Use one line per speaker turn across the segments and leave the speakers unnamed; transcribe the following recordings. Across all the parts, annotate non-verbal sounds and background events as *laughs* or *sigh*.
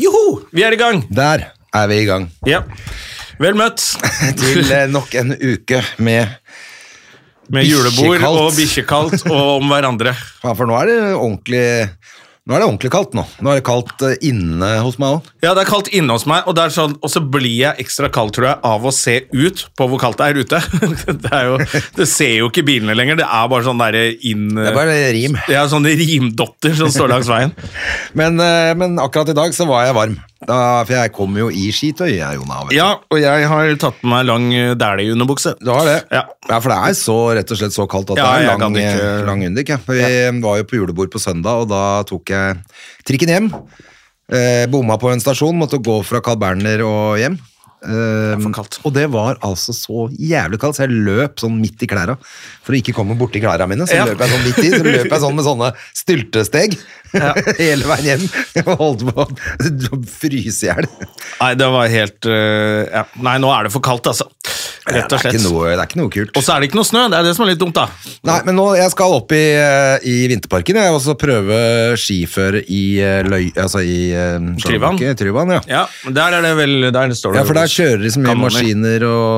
Joho! Vi er i gang!
Der er vi i gang
Ja. Vel møtt
til eh, nok en uke med
med julebord
Bikkjekaldt.
og bikkjekaldt og om hverandre.
Ja, for nå er det ordentlig Nå er det ordentlig kaldt nå. Nå er det kaldt eh, inne hos meg òg.
Ja, det er kaldt inne hos meg, og, det er sånn, og så blir jeg ekstra kald, tror jeg, av å se ut på hvor kaldt det er ute. *laughs* det, er jo, det ser jo ikke bilene lenger, det er bare sånn derre inn...
Det er bare rim.
Ja, sånne rimdotter som står langs veien.
Men, eh, men akkurat i dag så var jeg varm. Da, for jeg kom jo i skitøy, jeg, Jona. vet du.
Ja, og jeg har tatt på meg lang eh, dælig underbukse.
Du har det?
Ja.
for det er så, rett og slett så kaldt at
Ja, jeg
det er lang,
kan ikke-
eh, lang underk. Ja. For Vi var jo på julebord på søndag, og da tok jeg trikken hjem. Eh, bomma på en stasjon, måtte gå fra Carl Berner og hjem. Eh,
for kaldt.
og det var altså så jævlig kaldt, så jeg løp sånn midt i klæra. For å ikke komme borti klæra mine, så
Ja.
løp jeg sånn midt i. Så løp jeg sånn med sånne styltesteg *laughs* hele veien hjem. Og holdt på å fryse i hjel.
Nei, det var helt... eh, ja. Nei, nå er det for kaldt, altså. Rett og
Det er
slett.
ikke noe, det er ikke noe kult.
Og så er det ikke noe snø, det er det som er litt dumt, da.
Nei, men nå, jeg skal opp i, eh, i vinterparken jeg, og så prøve skiføre i eh, løy... Altså i eh,
Tryvann.
Skjølbakke, Tryvann, ja.
Ja, men der er det vel Der står det
Ja, for der kjører de så mye
Kanoner.
maskiner og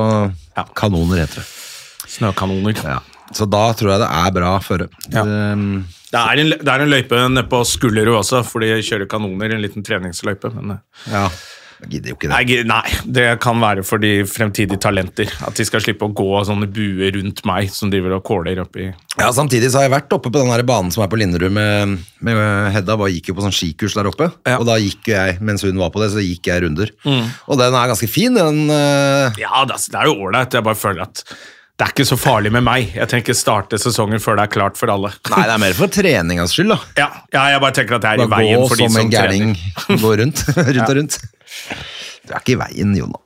Ja.
kanoner, heter det.
snøkanoner.
Så da tror jeg det er bra føre.
Ja.
Um,
Det, er en, det er en løype nede på Skullerud også, for de kjører kanoner. En liten treningsløype. Men eh,
ja. Jeg gidder jo ikke det.
nei, gi- nei, det kan være for de fremtidige talenter. At de skal slippe å gå av sånne buer rundt meg som driver og kåler oppi
Ja, Samtidig så har jeg vært oppe på den her banen som er på Linderud med, med Hedda. Bare gikk jo på sånn skikurs der oppe,
Ja.
og da gikk jo jeg mens hun var på det, så gikk jeg runder. Og den er ganske fin, den. eh,
Ja, det, er- det er jo ålreit. Jeg bare føler at det er ikke så farlig med meg. Jeg trenger ikke starte sesongen før det er klart for alle.
Nei, det er *laughs* mer for treningas skyld, da.
*laughs* Ja, ja, jeg bare tenker at det er i
Bare
veien
gå
for de
som
som
en gærning.
trener.
*laughs* Gå rundt, rundt og rundt. Du er ikke i veien, Jonna.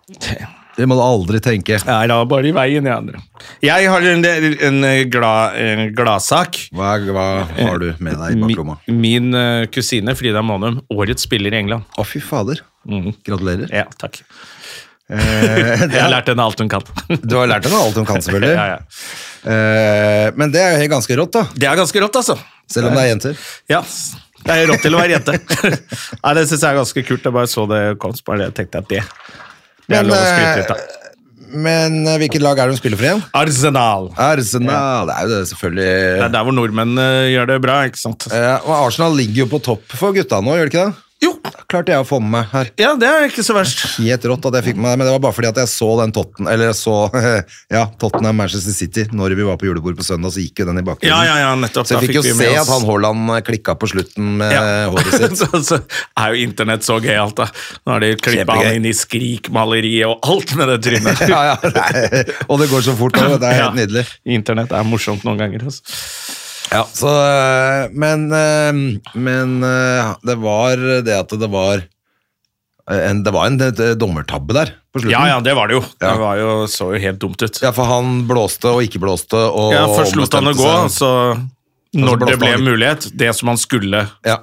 Det må du aldri tenke.
Jeg er bare i veien, jeg andre. Jeg har en, en, glad, en gladsak.
Hva, hva har du med deg i baklomma?
Mi- Min eh, kusine Frida Månum, årets spiller i England.
Å, fy fader.
Mm.
Gratulerer.
Ja, takk. *laughs*
Eh,
Jeg har lært henne alt hun kan.
Du har lært henne alt hun kan, selvfølgelig.
*laughs* ja, ja.
Eh, men det er jo helt ganske rått, da.
Det er ganske rått, altså.
Selv om det er jenter.
Ja, det er rått til å *laughs* være jente. Nei, Det syns jeg er ganske kult. Jeg bare så det kom, så bare tenkte jeg at det Det er
Men,
lov å skryte litt av.
Men eh, hvilket lag er det hun spiller for igjen?
Arsenal.
Arsenal. Det er jo det, selvfølgelig.
Det er der hvor nordmenn eh, gjør det bra, ikke sant?
Eh, og Arsenal ligger jo på topp for gutta nå, gjør det ikke det?
Jo,
Klarte jeg å få med meg her.
ja, det er ikke så verst.
helt rått at jeg fikk med det, men det var bare fordi at jeg så den Totten, eller jeg så *laughs* ja, Tottenham Manchester City når vi var på julebord på søndag, så gikk jo den i bakgrunnen.
Ja, ja, ja, nettopp.
Så
Da
jeg fikk jo
vi med
se
oss-
at han Haaland klikka på slutten med
Ja.
*laughs* håret sitt.
*laughs* så, så er jo internett så gøyalt, da. Nå har de klippa
Kjempegøy.
han inn i skrikmaleriet og alt med det trynet.
Ja, ja, nei. Og det går så fort nå, det er helt nydelig.
Internett er morsomt noen ganger. Altså.
Ja, så, øh, men, øh, men øh, det var det at det var øh, en, Det var en øh, dommertabbe der på slutten.
Ja, ja, det var det jo.
Ja.
Det var jo, så jo helt dumt ut.
Ja, for han blåste og ikke blåste og
Ja, først lot han å
ombestemte
gå,
seg.
og så når
blåste
det ble
han.
mulighet, det som han skulle,
Ja.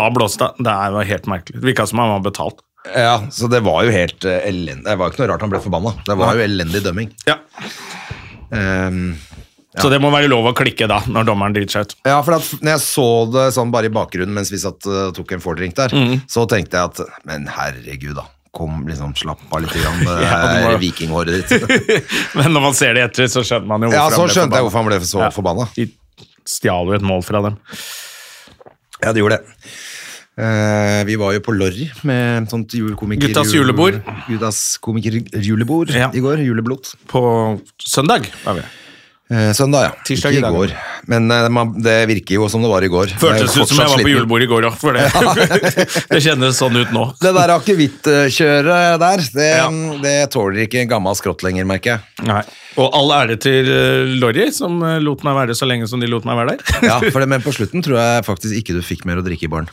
da blåste han. Det var helt merkelig. Det virka som han var betalt.
Ja, så det var jo helt eh, elendig Det var jo ikke noe rart han ble forbanna. Det var jo elendig dømming.
Ja.
Ehm,
Så det må være lov å klikke da, når dommeren driter seg ut. *laughs*
ja, for at når jeg så det sånn bare i bakgrunnen mens vi satt eh, og tok en fordrink der, så tenkte jeg at men herregud, da. Kom, liksom, slapp av litt. *laughs* Grann, det
det
her
var-
vikinghåret *laughs* ditt.
Men når man ser det etter, så skjønner man jo
ja,
hvorfor
så
han ble
skjønte jeg
forbanna.
hvorfor han ble så
Ja.
forbanna.
De stjal jo et mål fra dem.
Ja, det gjorde det. Eh, vi var jo på Lorry med sånt jul- komiker...
Guttas
jul-
julebord.
Guttas komikerjulebord
Ja.
i går. Juleblod.
På søndag var vi.
Eh, Søndag, ja.
Tirsdag i
ikke i
dag.
går. Men eh, man, det virker jo som det var i går.
Føltes
Jeg er
ut som jeg var
fortsatt
på
sliten.
julebord i går òg, for
*laughs*
det, *laughs* det kjennes sånn ut nå.
Det der akevittkjøret der, det,
Ja.
det tåler ikke en gammel skrott lenger, merker jeg.
Nei. Og all ære til eh, Lorry, som eh, lot meg være så
*laughs*
lenge som de lot meg være der.
Ja, for det, Men på slutten tror jeg faktisk ikke du fikk mer å drikke i baren.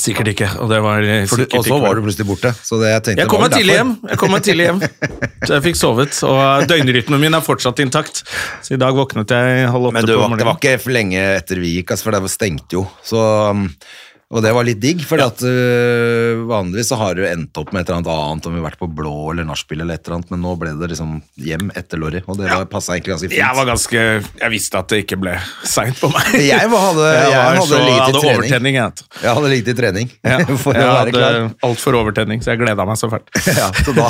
Sikkert ikke. Og det var eh,
For du,
sikkert
og så
ikke-
var du plutselig borte. Så det jeg tenkte
Jeg kom
var
meg tidlig hjem.
derfor.
Jeg kom meg tidlig
*laughs*
hjem. Så jeg fikk sovet, og eh, døgnrytmen min er fortsatt intakt. Så i dag våknet jeg halv åtte
Men du,
på
var- det
morgenen.
var ikke for lenge etter vi gikk, altså, for det stengte jo. Så, um, og det var litt digg, for at, øh, vanligvis så har du endt opp med et eller annet annet, om vi har vært på blå eller nachspiel eller et eller annet, men nå ble det liksom hjem etter Lorry, og det var, passet egentlig ganske fint.
Jeg var ganske Jeg visste at det ikke ble seint på meg.
*laughs* Jeg var-
*laughs*
hadde- jeg
var
hadde
så,
lite
hadde
trening.
overtenning. Jeg, vet du.
Jeg hadde ligget i trening
ja.
*laughs*
*laughs*
for
jeg
å være
hadde
klar.
altfor overtenning, så jeg gleda meg så fælt.
*laughs* Ja, så da,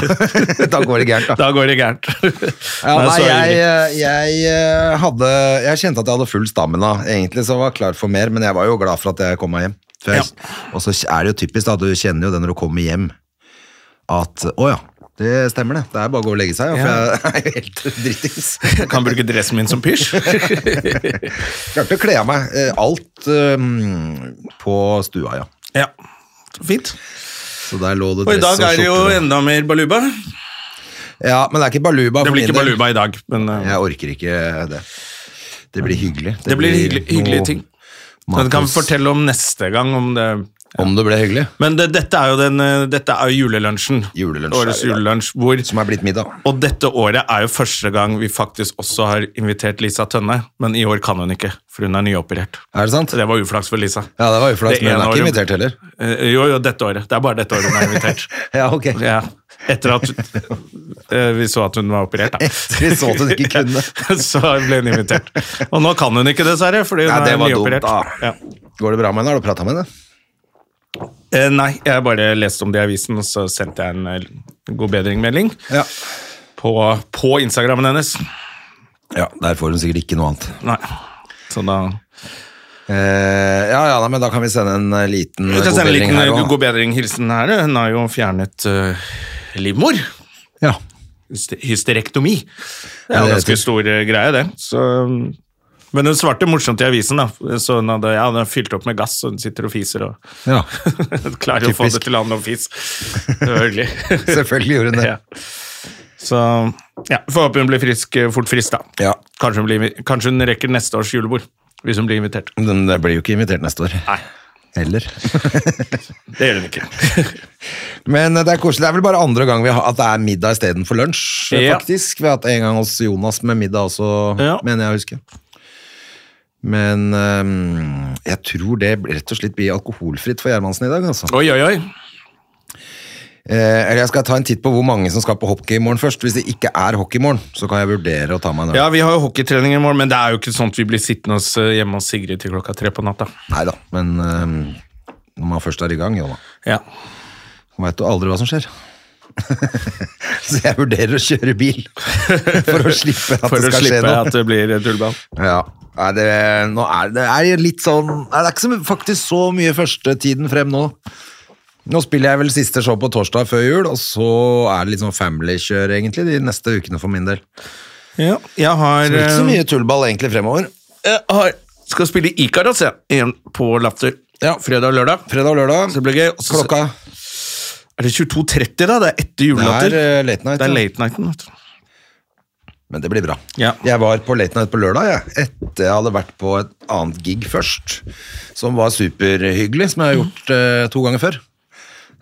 da går det gærent, da.
Da går det gærent.
Ja,
*laughs* Nei,
nei,
så
jeg, eh,
ille.
jeg, eh, hadde, jeg kjente at jeg hadde full stamina. Egentlig så var jeg klar for mer, men jeg var jo glad for at jeg kom meg hjem. For jeg, Og så er det jo typisk da, du kjenner jo det når du kommer hjem, at å ja, det stemmer det. Det er bare å gå og legge seg, ja, for jeg *laughs* er jo helt drittings.
kan bruke dressen min som pysj.
*laughs* Klarte å kle av meg eh, alt eh, på stua, ja.
ja. Fint.
Så der lå det
Og i
dress
dag
og
er det jo
skjorter og-
enda mer baluba.
Ja, men det er ikke baluba.
Det
for
blir
min
ikke
del.
baluba i dag, men eh,
Jeg orker ikke det. Det blir hyggelig.
det blir hyggelig,
noe
hyggelige ting.
mat
Men det kan vi
hos-
fortelle om neste gang. om det...
Om det ble hyggelig.
Men det, dette er jo den, eh, dette er jo julelunsjen.
Julelunsj
Årets
er i dag.
julelunsj. Hvor,
Som er blitt middag.
og dette året er jo første gang vi faktisk også har invitert Lisa Tønne. Men i år kan hun ikke, for hun er nyoperert.
Er det sant?
Så det var uflaks for Lisa.
Ja, det var uflaks,
Det
men hun
ene
er ikke
året-
invitert heller.
Eh, Jo, jo, dette året. Det er bare dette året hun er invitert.
*laughs* Ja, ok.
ja. Etter at eh, vi så at hun var operert, da.
*laughs* Vi så at hun ikke kunne.
*laughs* så ble hun invitert. Og nå kan hun ikke, dessverre, fordi hun
Ja, det
er
var
nyoperert.
dumt, da.
Ja.
Går det bra med henne? Har du prata med henne?
Eh, nei, jeg bare leste om det i avisen, og så sendte jeg en eh, god bedring-melding
Ja.
på, på Instagrammen hennes.
ja. Der får hun sikkert ikke noe annet.
Nei. Så da
Eh, ja, ja, nei, men da kan vi sende en eh, liten
Vi kan
god
sende en
melding
liten
her
eh,
òg.
god bedring-hilsen her. Hun har jo fjernet eh, livmor.
Ja.
Hyste- Hysterektomi. Det er
Ja,
jo
det
ganske
heter.
stor eh, greie, det. Så, um, men hun svarte morsomt i avisen, da. Så hun hadde, ja, hun hadde fylt opp med gass, og hun sitter og fiser og *laughs*
ja.
klarer å få
Typisk.
det til å handle om fis. Det var *laughs* hyggelig.
Selvfølgelig gjorde hun det.
ja. Så ja, får håpe hun blir frisk eh, fort frist, da.
Ja.
Kanskje hun, blir, kanskje hun rekker neste års julebord, hvis hun blir invitert.
Men det blir jo ikke invitert neste år.
Nei,
Heller.
det gjør hun ikke.
Men eh, det er koselig. Det er vel bare andre gang vi har, at det er middag istedenfor lunsj, eh,
Ja.
faktisk. Vi har hatt en gang hos Jonas med middag også,
Ja.
mener jeg å huske. Men eh, jeg tror det rett og slett blir alkoholfritt for Gjermansen i dag, altså.
*laughs* Oi, oi, oi.
Eh, eller jeg skal ta en titt på hvor mange som skal på hockey i morgen først. Hvis det ikke er hockey i morgen, så kan jeg vurdere å ta meg en øl.
Ja, vi har jo hockeytrening i morgen, men det er jo ikke sånn at vi blir sittende hos, eh, hjemme hos Sigrid til klokka tre på natta.
Neida, men eh, når man først er i gang, jo da.
Ja.
Veit du aldri hva som skjer. *laughs* så jeg vurderer å kjøre
*laughs*
bil for å slippe at
For
det
å
skal skje
slippe
noe.
at det blir tullball.
Ja. Nei, det, nå er det er litt sånn Nei, Det er ikke så, faktisk så mye førstetiden frem nå. Nå spiller jeg vel siste show på torsdag før jul, og så er det litt sånn family-kjør egentlig de neste ukene for min del.
Ja, jeg har,
Det blir ikke så
eh,
mye tullball egentlig fremover.
jeg har Skal spille Ikaros, jeg, igjen på Latter.
Ja.
Fredag og lørdag.
Fredag og lørdag.
Så det blir gøy. Og så-
Klokka
Er det 22.30, da? Det er etter
er
julelatter.
eh, late night.
Det er
ja.
late nighten. vet du.
Men det blir bra.
Ja.
Jeg var på Late Night på lørdag, jeg. Etter jeg hadde vært på et annet gig først, som var superhyggelig, som jeg har gjort eh, to ganger før.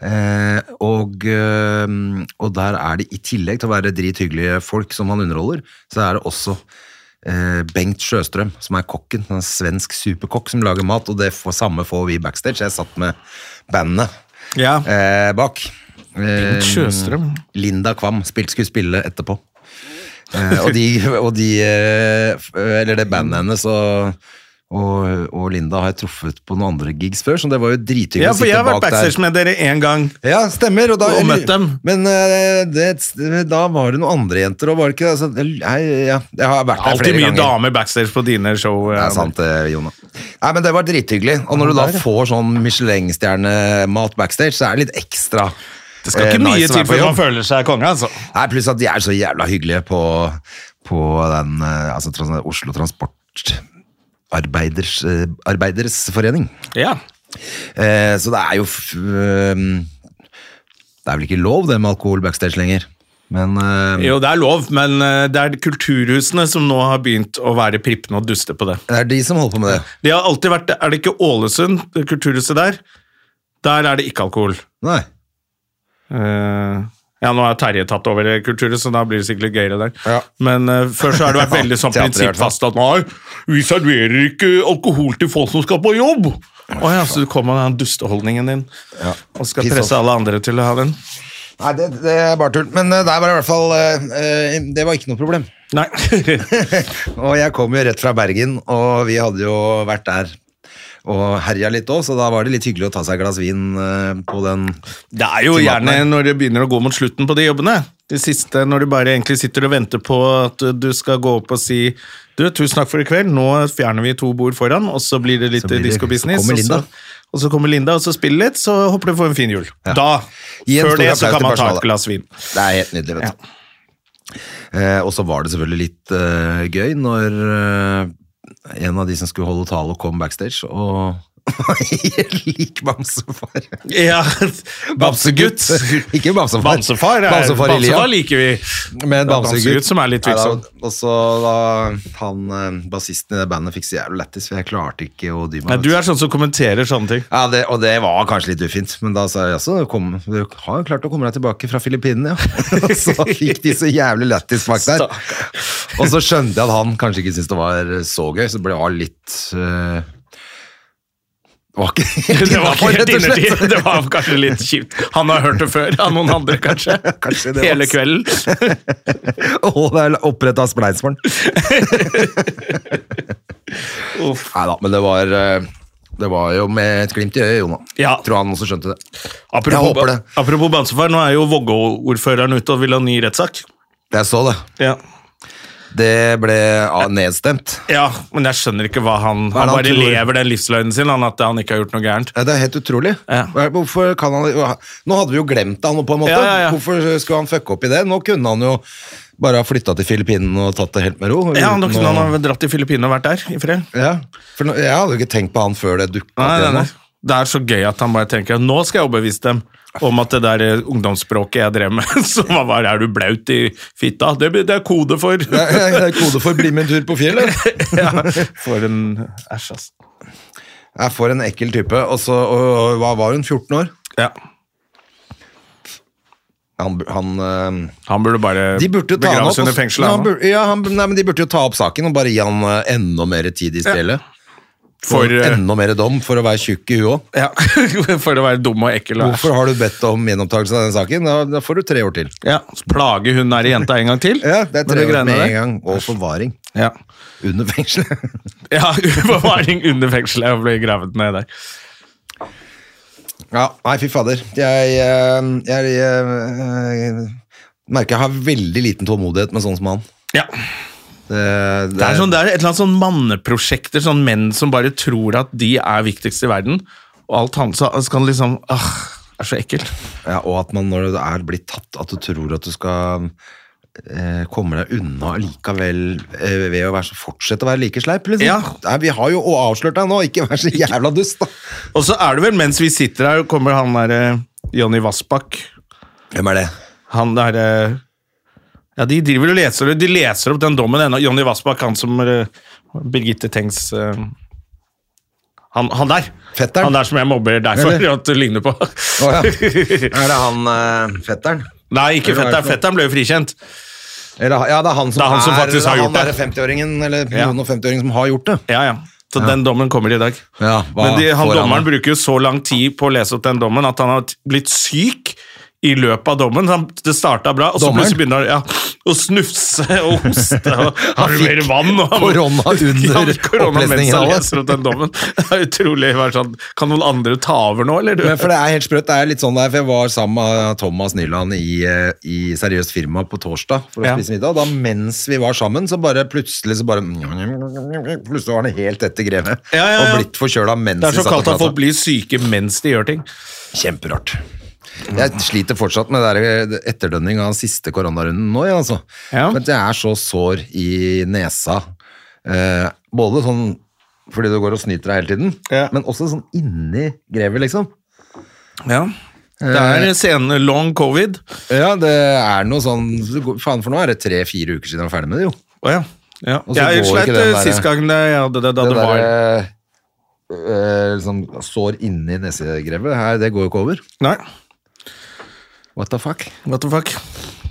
Eh, og, eh, og der er det i tillegg til å være drithyggelige folk som han underholder, så er det også eh, Bengt Sjøstrøm, som er kokken. En svensk superkokk som lager mat, og det får, samme får vi backstage. Jeg satt med bandet
Ja.
eh, bak. Bengt
Sjøstrøm.
Linda Kvam spilt, skulle spille etterpå. Eh, og de, *laughs* og de eh, f- Eller det bandet hennes og, og, og Linda har jeg truffet på noen andre gigs før, så det var jo drithyggelig
ja,
å
for jeg
sitte
har vært
bak der.
backstage med dere én gang.
Ja, stemmer. Og, da,
Og møtt dem.
Men eh, det, da var det noen andre jenter òg, var det ikke det? Altså, jeg, ja, jeg har vært der
Alltid
flere
mye
ganger.
damer backstage på dine show.
Det
eh,
er sant, eh, Jona. Nei, men det var drithyggelig. Og når du da får sånn Michelin-stjernemat backstage, så er det litt ekstra.
Det skal ikke
eh,
mye
nice å
til
være på
før man
jobb.
føler seg konge, altså.
Nei, pluss at de er så jævla hyggelige på, på den eh, altså, trans Oslo Transport Arbeiders, eh, Arbeideres Forening.
Ja.
Eh, så det er jo f ehm, Det er vel ikke lov, det med alkohol backstage lenger. Men eh,
Jo, det er lov, men eh, det er kulturhusene som nå har begynt å være prippende og duste på det.
det er de som holder på med det.
De har alltid vært, Er det ikke Ålesund, det kulturhuset der? Der er det ikke alkohol.
Nei.
Eh, ja, nå har Terje tatt over kulturen, så da blir det sikkert litt gøyere der.
Ja.
Men eh, før så har det vært
*laughs* Ja,
veldig sånn
teater i hvert fall.
prinsippfast at nei, vi serverer ikke alkohol til folk som skal på jobb! Å ja, så du kommer med den dusteholdningen din og skal
Piss
presse
off.
alle andre til å ha den?
Nei, det, det er bare tull. Men eh, der var det i hvert fall eh, eh, Det var ikke noe problem. *laughs*
Nei. *laughs*
Og jeg kom jo rett fra Bergen, og vi hadde jo vært der og herja litt òg, så da var det litt hyggelig å ta seg et glass vin eh, på den
Det er jo
Til maten
gjerne
her.
når det begynner å gå mot slutten på de jobbene. Det siste, når du bare egentlig sitter og venter på at du skal gå opp og si du, tusen takk for i kveld, nå fjerner vi to bord foran, og så blir det litt
Så blir det-
disco-business.
så kommer Linda.
Og, så- og så kommer Linda, og så spiller litt, så håper du får en fin jul.
Ja.
Da,
Gi en
før
stor
det, så
applaus
kan man
til
ta
personalet.
et glass vin. *laughs*
Det er helt nydelig, vet du. Eh, og så var det selvfølgelig litt eh, gøy når eh, en av de som skulle holde tale, kom backstage og *laughs* var helt lik Bamsefar.
Ja, Bamsegutt.
*laughs* Ikke Bamsefar.
Bamsefar, er,
Bamsefar,
Bamsefar,
i lia.
liker vi.
Men
Det er Bamsegutt som er litt
Nei da,
tvilsom.
Og så da han eh, bassisten i det bandet fikk så jævlig lættis, for jeg klarte ikke å dy meg.
Nei,
vet
du er sånn som kommenterer sånne ting.
Ja, det, og det var kanskje litt ufint, men da sa jeg også kom, Du har jo klart å komme deg tilbake fra Filippinene, ja. *laughs* Og så fikk de så jævlig lættis bak der. Og så skjønte jeg at han kanskje ikke syntes det var så gøy, så det ble litt eh, Det var
*laughs*
ikke helt
Det var ikke helt
innenfor, rett og slett. *laughs*
innertid. Det var kanskje litt kjipt. Han har hørt det før av noen andre, kanskje.
*laughs* Kanskje det var-
Hele kvelden.
Og det er oppretta spleisbarn. Nei da, men det var eh, det var jo med et glimt i øyet, Jona.
Ja.
Tror han også skjønte det.
Apropos,
Jeg håper det.
apropos Bamsefar, nå er jo Vågå-ordføreren ute og vil ha ny rettssak.
Jeg så det.
Ja.
Det ble ah, nedstemt.
men jeg skjønner ikke hva han Han
Hva er det han
bare
tror?
lever den livsløgnen sin, han at han ikke har gjort noe gærent.
Ja, det er helt utrolig.
Ja.
Hva- Hvorfor kan han Nå hadde vi jo glemt han på en måte.
Ja, ja, ja.
Hvorfor skulle han fucke opp i det? Nå kunne han jo bare ha flytta til Filippinene og tatt det helt med ro.
Ja,
uten
Nå
å-
kunne han ha dratt til Filippinene og vært der i fred.
ja. For nå, jeg hadde jo ikke tenkt på han før det dukka
Nei, nei,
opp.
nei.
igjen nå.
Det er så gøy at han bare tenker at nå skal jeg overbevise dem om at det der eh, ungdomsspråket jeg drev med, *laughs* som var bare 'er du blaut i fitta', det, blir- det er kode for
*laughs* Det er det er kode for 'bli med en tur på fjellet'.
*laughs* ja, For en æsj, ass.
Jeg får en ekkel type. Og så og, og, hva var hun? 14 år?
Ja.
Han, han, eh,
Han burde bare
de burde jo ta han
begraves
opp. og-
under fengselet.
Ja,
han,
han
da.
burde, ja, han, nei, men de burde jo ta opp saken og bare gi han eh, enda mer tid i spillet.
For,
Og
eh,
enda mer dom for å være tjukk i huet òg.
Ja, *laughs* for å være dum og ekkel. og æsj.
Hvorfor har du bedt om gjenopptakelse av den saken? Da, da får du tre år til.
Ja, så plager hun der jenta en gang til.
Ja, det er
Med de
tre år
greiene
med
der.
en gang. Og forvaring
Ja,
under fengselet.
ja *laughs* forvaring under fengselet og blir gravet ned der.
*laughs* ja, nei, fy fader. Jeg, eh, jeg, eh, merker jeg har veldig liten tålmodighet med sånn som han.
Ja,
Det, det,
det er, sånn, det er et eller annet sånn manneprosjekter, sånn menn som bare tror at de er viktigst i verden, og alt han sa, skal liksom, ah, er så ekkel.
ja, og at man når du er blitt tatt, at du tror at du skal eh, komme deg unna likevel eh, ved å være så, fortsette å være like sleip. Liksom.
Ja.
Nei, vi har jo avslørt deg nå, ikke vær så jævla dust, da.
Og så er det vel, mens vi sitter her, kommer han der, eh, Johnny Vassbakk,
Hvem er det?
han der, eh, ja, de driver og leser, de leser opp den dommen ennå, Johnny Vassbakk, han som eh, Birgitte Tengs, eh, han, han der,
Fetteren?
han der som jeg mobber deg for,
Eller?
*laughs* at du ligner på.
Å, ja. Er det han eh, fetteren?
Nei, ikke
Eller hva er
fetteren.
det for noe?
Fetteren ble jo frikjent.
Eller, ja, det er han som,
Det er han som faktisk har
han
gjort det.
er 50-åringen, eller
Ja.
noen og 50-åringen som har gjort det.
Ja, ja. Så den dommen kommer i dag.
Ja, hva
Men de, han
får han
dommeren
da?
bruker jo så lang tid på å lese opp den dommen at han har t- blitt syk i løpet av dommen. Han, det starta bra, og så
Dommeren?
plutselig begynner han ja, å snufse og hoste.
*laughs*
Og, har du
fikk
mer vann? Og han-
korona under
Ja, korona mens
opplesningen av
han
det.
leser opp den dommen. *laughs* Det er utrolig bare sånn Kan noen andre ta over nå, eller? *laughs*
Men for det er helt sprøtt, det er litt sånn der, for jeg var sammen med Thomas Nyland i, eh, i Seriøst Firma på torsdag for å
Ja.
spise middag, og da mens vi var sammen, så bare plutselig så bare Plutselig var han helt etter grevet,
Ja, ja, ja.
og blitt forkjøla mens
Det er så
vi satt og
kaldt at folk
pratet.
blir syke mens de gjør ting.
Kjemperart. Jeg sliter fortsatt med det der eh, etterdønning av den siste koronarunden nå, jeg, altså.
Ja.
For at jeg er så sår i nesa. Eh, både sånn fordi du går og snyter deg hele tiden,
Ja.
men også sånn inni grevet, liksom.
Ja. Det er sen long covid.
Ja, det er noe sånn du går- Faen, for nå er det tre-fire uker siden jeg var ferdig med det, jo.
Å ja. ja.
Og så
Jeg
går
sleit
ikke den
eh,
der-
sist gang jeg hadde det, da det,
det
var
der, eh, eh, liksom, sår inni nesegrevet. Her, det går jo ikke over.
Nei,
What the fuck?
what the fuck.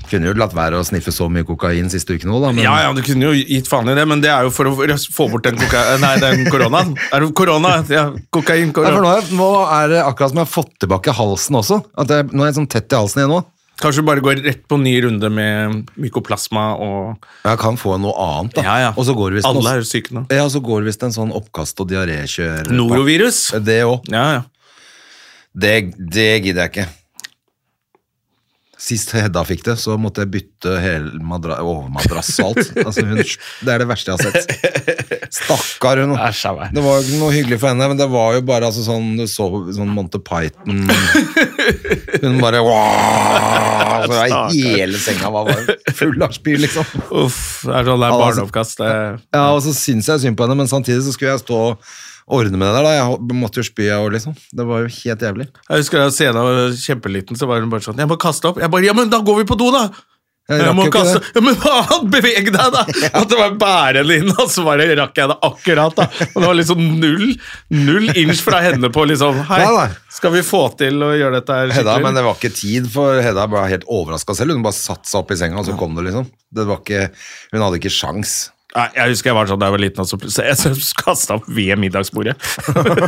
Kunne jo latt være å sniffe så mye kokain siste uken òg, da. Men
Ja, ja, du kunne jo gitt faen i det, men det er jo for å få bort den, koka *laughs* nei, den koronaen. Er det korona? Ja, kokain,
Nei, for
korona.
nå, er, nå er det akkurat som jeg har fått tilbake halsen også. At jeg, nå er jeg sånn tett i halsen igjen nå.
Kanskje du bare går rett på ny runde med mykoplasma og
Jeg kan få noe annet, da.
Ja, ja.
Og så går det visst
Alle
også-
er jo syke nå.
Ja, så går det visst en sånn oppkast- og diarékjør...
Norovirus.
Det òg.
Ja, ja.
Det, det gidder jeg ikke. Sist Hedda fikk det, så måtte jeg bytte hele madra overmadrass og alt. Altså, hun, det er det verste jeg har sett.
*laughs*
Stakkar hun.
Æsj, av meg.
Det var jo ikke noe hyggelig for henne, men det var jo bare altså, sånn Du så sånn Monty Python Hun bare wow, så
Stakkar.
Hele senga var bare full av spy, liksom.
Uff, det er sånn det er
Altså-
barneoppkast. Det er
Ja, og så syns jeg synd på henne, men samtidig så skulle jeg stå og ordne med det der. da. Jeg måtte jo spy, jeg òg, liksom. Det var jo helt jævlig.
Jeg husker da Sena var kjempeliten, så var hun bare sånn Jeg må kaste opp. Jeg bare Ja, men da går vi på do, da!
Jeg
Jeg,
rakk
må
jo ikke
kaste
det.
Ja, Men faen, beveg deg,
*laughs*
da! At det var bære henne inn, og så bare rakk jeg det akkurat, da. Og det var liksom null null inch fra henne på liksom Hei,
Nei, nei.
skal vi få til å gjøre dette her
Hedda, men
skikkelig?
det var ikke tid, for Hedda var helt overraska selv. Hun bare satte seg opp i senga, og så kom det, liksom. Det var ikke, hun hadde ikke sjans.
Nei, jeg husker jeg var sånn da jeg var liten, og så plutselig så jeg kasta opp ved middagsbordet.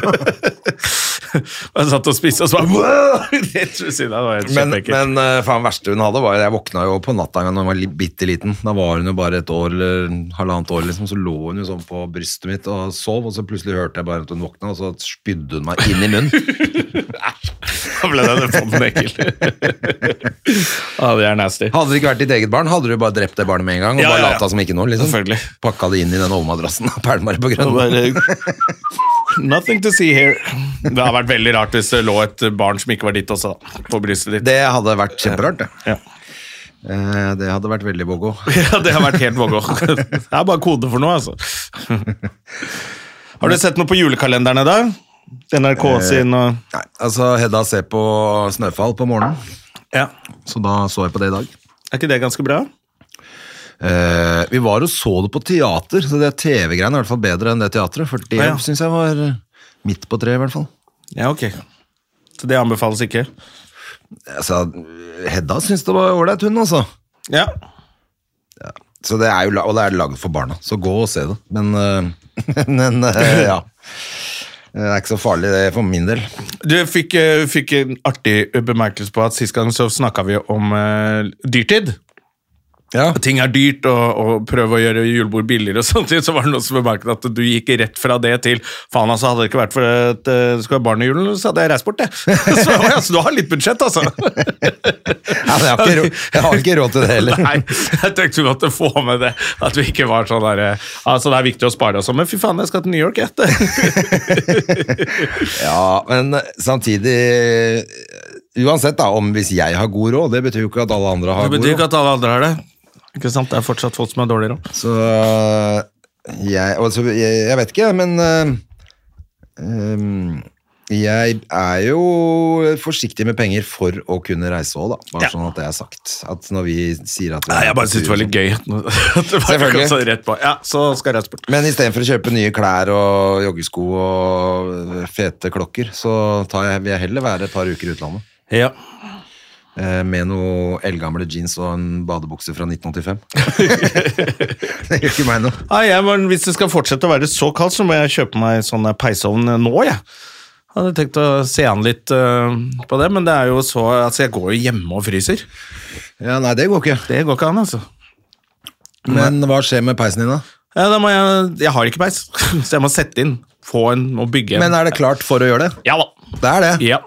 *laughs*
*laughs* og jeg satt og spiste, og så bare «Wow!» *laughs* Rett ved siden av. Det var helt
Men,
kjempeekkelt.
men eh, faen, verste hun hadde, var Jeg våkna jo på natta en gang da hun var li- bitte liten. Da var hun jo bare et år eller halvannet år, liksom. Så lå hun jo sånn på brystet mitt og sov, og så plutselig hørte jeg bare at hun våkna, og så spydde hun meg inn i
*laughs*
munnen.
Da ble den fonden ekkel. *laughs* ja, det er nasty.
Hadde det ikke vært ditt eget barn, hadde du bare drept det barnet med en gang og
Ja,
bare
ja, ja.
lata som ikke noe. liksom.
Selvfølgelig.
Pakka det inn i den overmadrassen og pælma det på
Og
grønn.
bare, Nothing to see here. Det hadde vært veldig rart hvis det lå et barn som ikke var ditt også, da, på brystet ditt.
*laughs* Det hadde vært kjemperart, det.
Ja.
Eh, Det hadde vært veldig
*laughs*
bogo.
Ja, det har vært helt *laughs* vågå. Det er bare kode for noe, altså. Har du sett noe på julekalenderen i dag? NRK sin og
Nei, altså Hedda ser på Snøfall på morgenen,
Ja.
så da så jeg på det i dag.
Er ikke det ganske bra?
Eh, vi var og så det på teater, så det TV-greiene er i hvert fall bedre enn det teatret. For det
Ja, ja.
synes syns jeg var eh, midt på treet, i hvert fall.
Ja, ok. Så det anbefales ikke?
Altså, Hedda syns det var ålreit, hun, altså.
Ja.
Så det er jo, la- og det er lagd for barna, så gå og se det. Men, eh, *laughs* men eh, ja. Det er ikke så farlig, det, for min del.
Du fikk, eh, fikk en artig bemerkelse på at sist gang så snakka vi om eh, dyrtid.
*laughs* Ja.
ting er dyrt, og, og prøve å gjøre julebord billigere og *laughs* samtidig, så var det noen som bemerket at du gikk rett fra det til faen altså, hadde det ikke vært for at eh, det skulle være barn i julen, så hadde jeg reist bort, jeg. *laughs* Så jeg var, altså, du har litt budsjett, altså. *laughs*
men jeg, har ikke råd, jeg har ikke råd til det heller.
*laughs* Nei, jeg tenkte godt å få med det, at vi ikke var sånn der, eh, altså det er viktig å spare og sånn, men fy faen, jeg skal til New York, jeg. *laughs*
Ja, men eh, samtidig eh, Uansett, da, om hvis jeg har god råd, det betyr jo ikke at alle andre har
Det
god
betyr
råd.
ikke at alle andre har det. Ikke sant, det er fortsatt folk som er dårligere. også.
Så eh, jeg, og så- jeg, jeg vet ikke, men eh, ehm, jeg er jo forsiktig med penger for å kunne reise òg, da. Bare
Ja.
sånn at det er sagt. At når vi sier at vi
Nei, jeg bare synes det var litt gøy. *laughs* at nå- at det var
Selvfølgelig.
sånn rett på. Ja, så skal jeg reise bort.
Men istedenfor å kjøpe nye klær og joggesko og eh, fete klokker, så tar jeg, vil jeg heller være et par uker i utlandet.
Ja.
Eh, Med noe eldgamle jeans og en badebukse fra 1985. *laughs* det gjør ikke meg noe.
Nei, jeg, men hvis det skal fortsette å være så kaldt, så må jeg kjøpe meg sånn der peisovn nå, jeg. Jeg hadde tenkt å se an litt øh, på det, men det er jo så Altså, jeg går jo hjemme og fryser.
Ja, Nei, det går ikke.
Det går ikke an, altså.
Men hva skjer med peisen din, da?
Ja, da må jeg Jeg har ikke peis, *laughs* så jeg må sette inn. Få en og bygge en.
Men er det klart for å gjøre det?
Ja da.
Det er det.
Ja.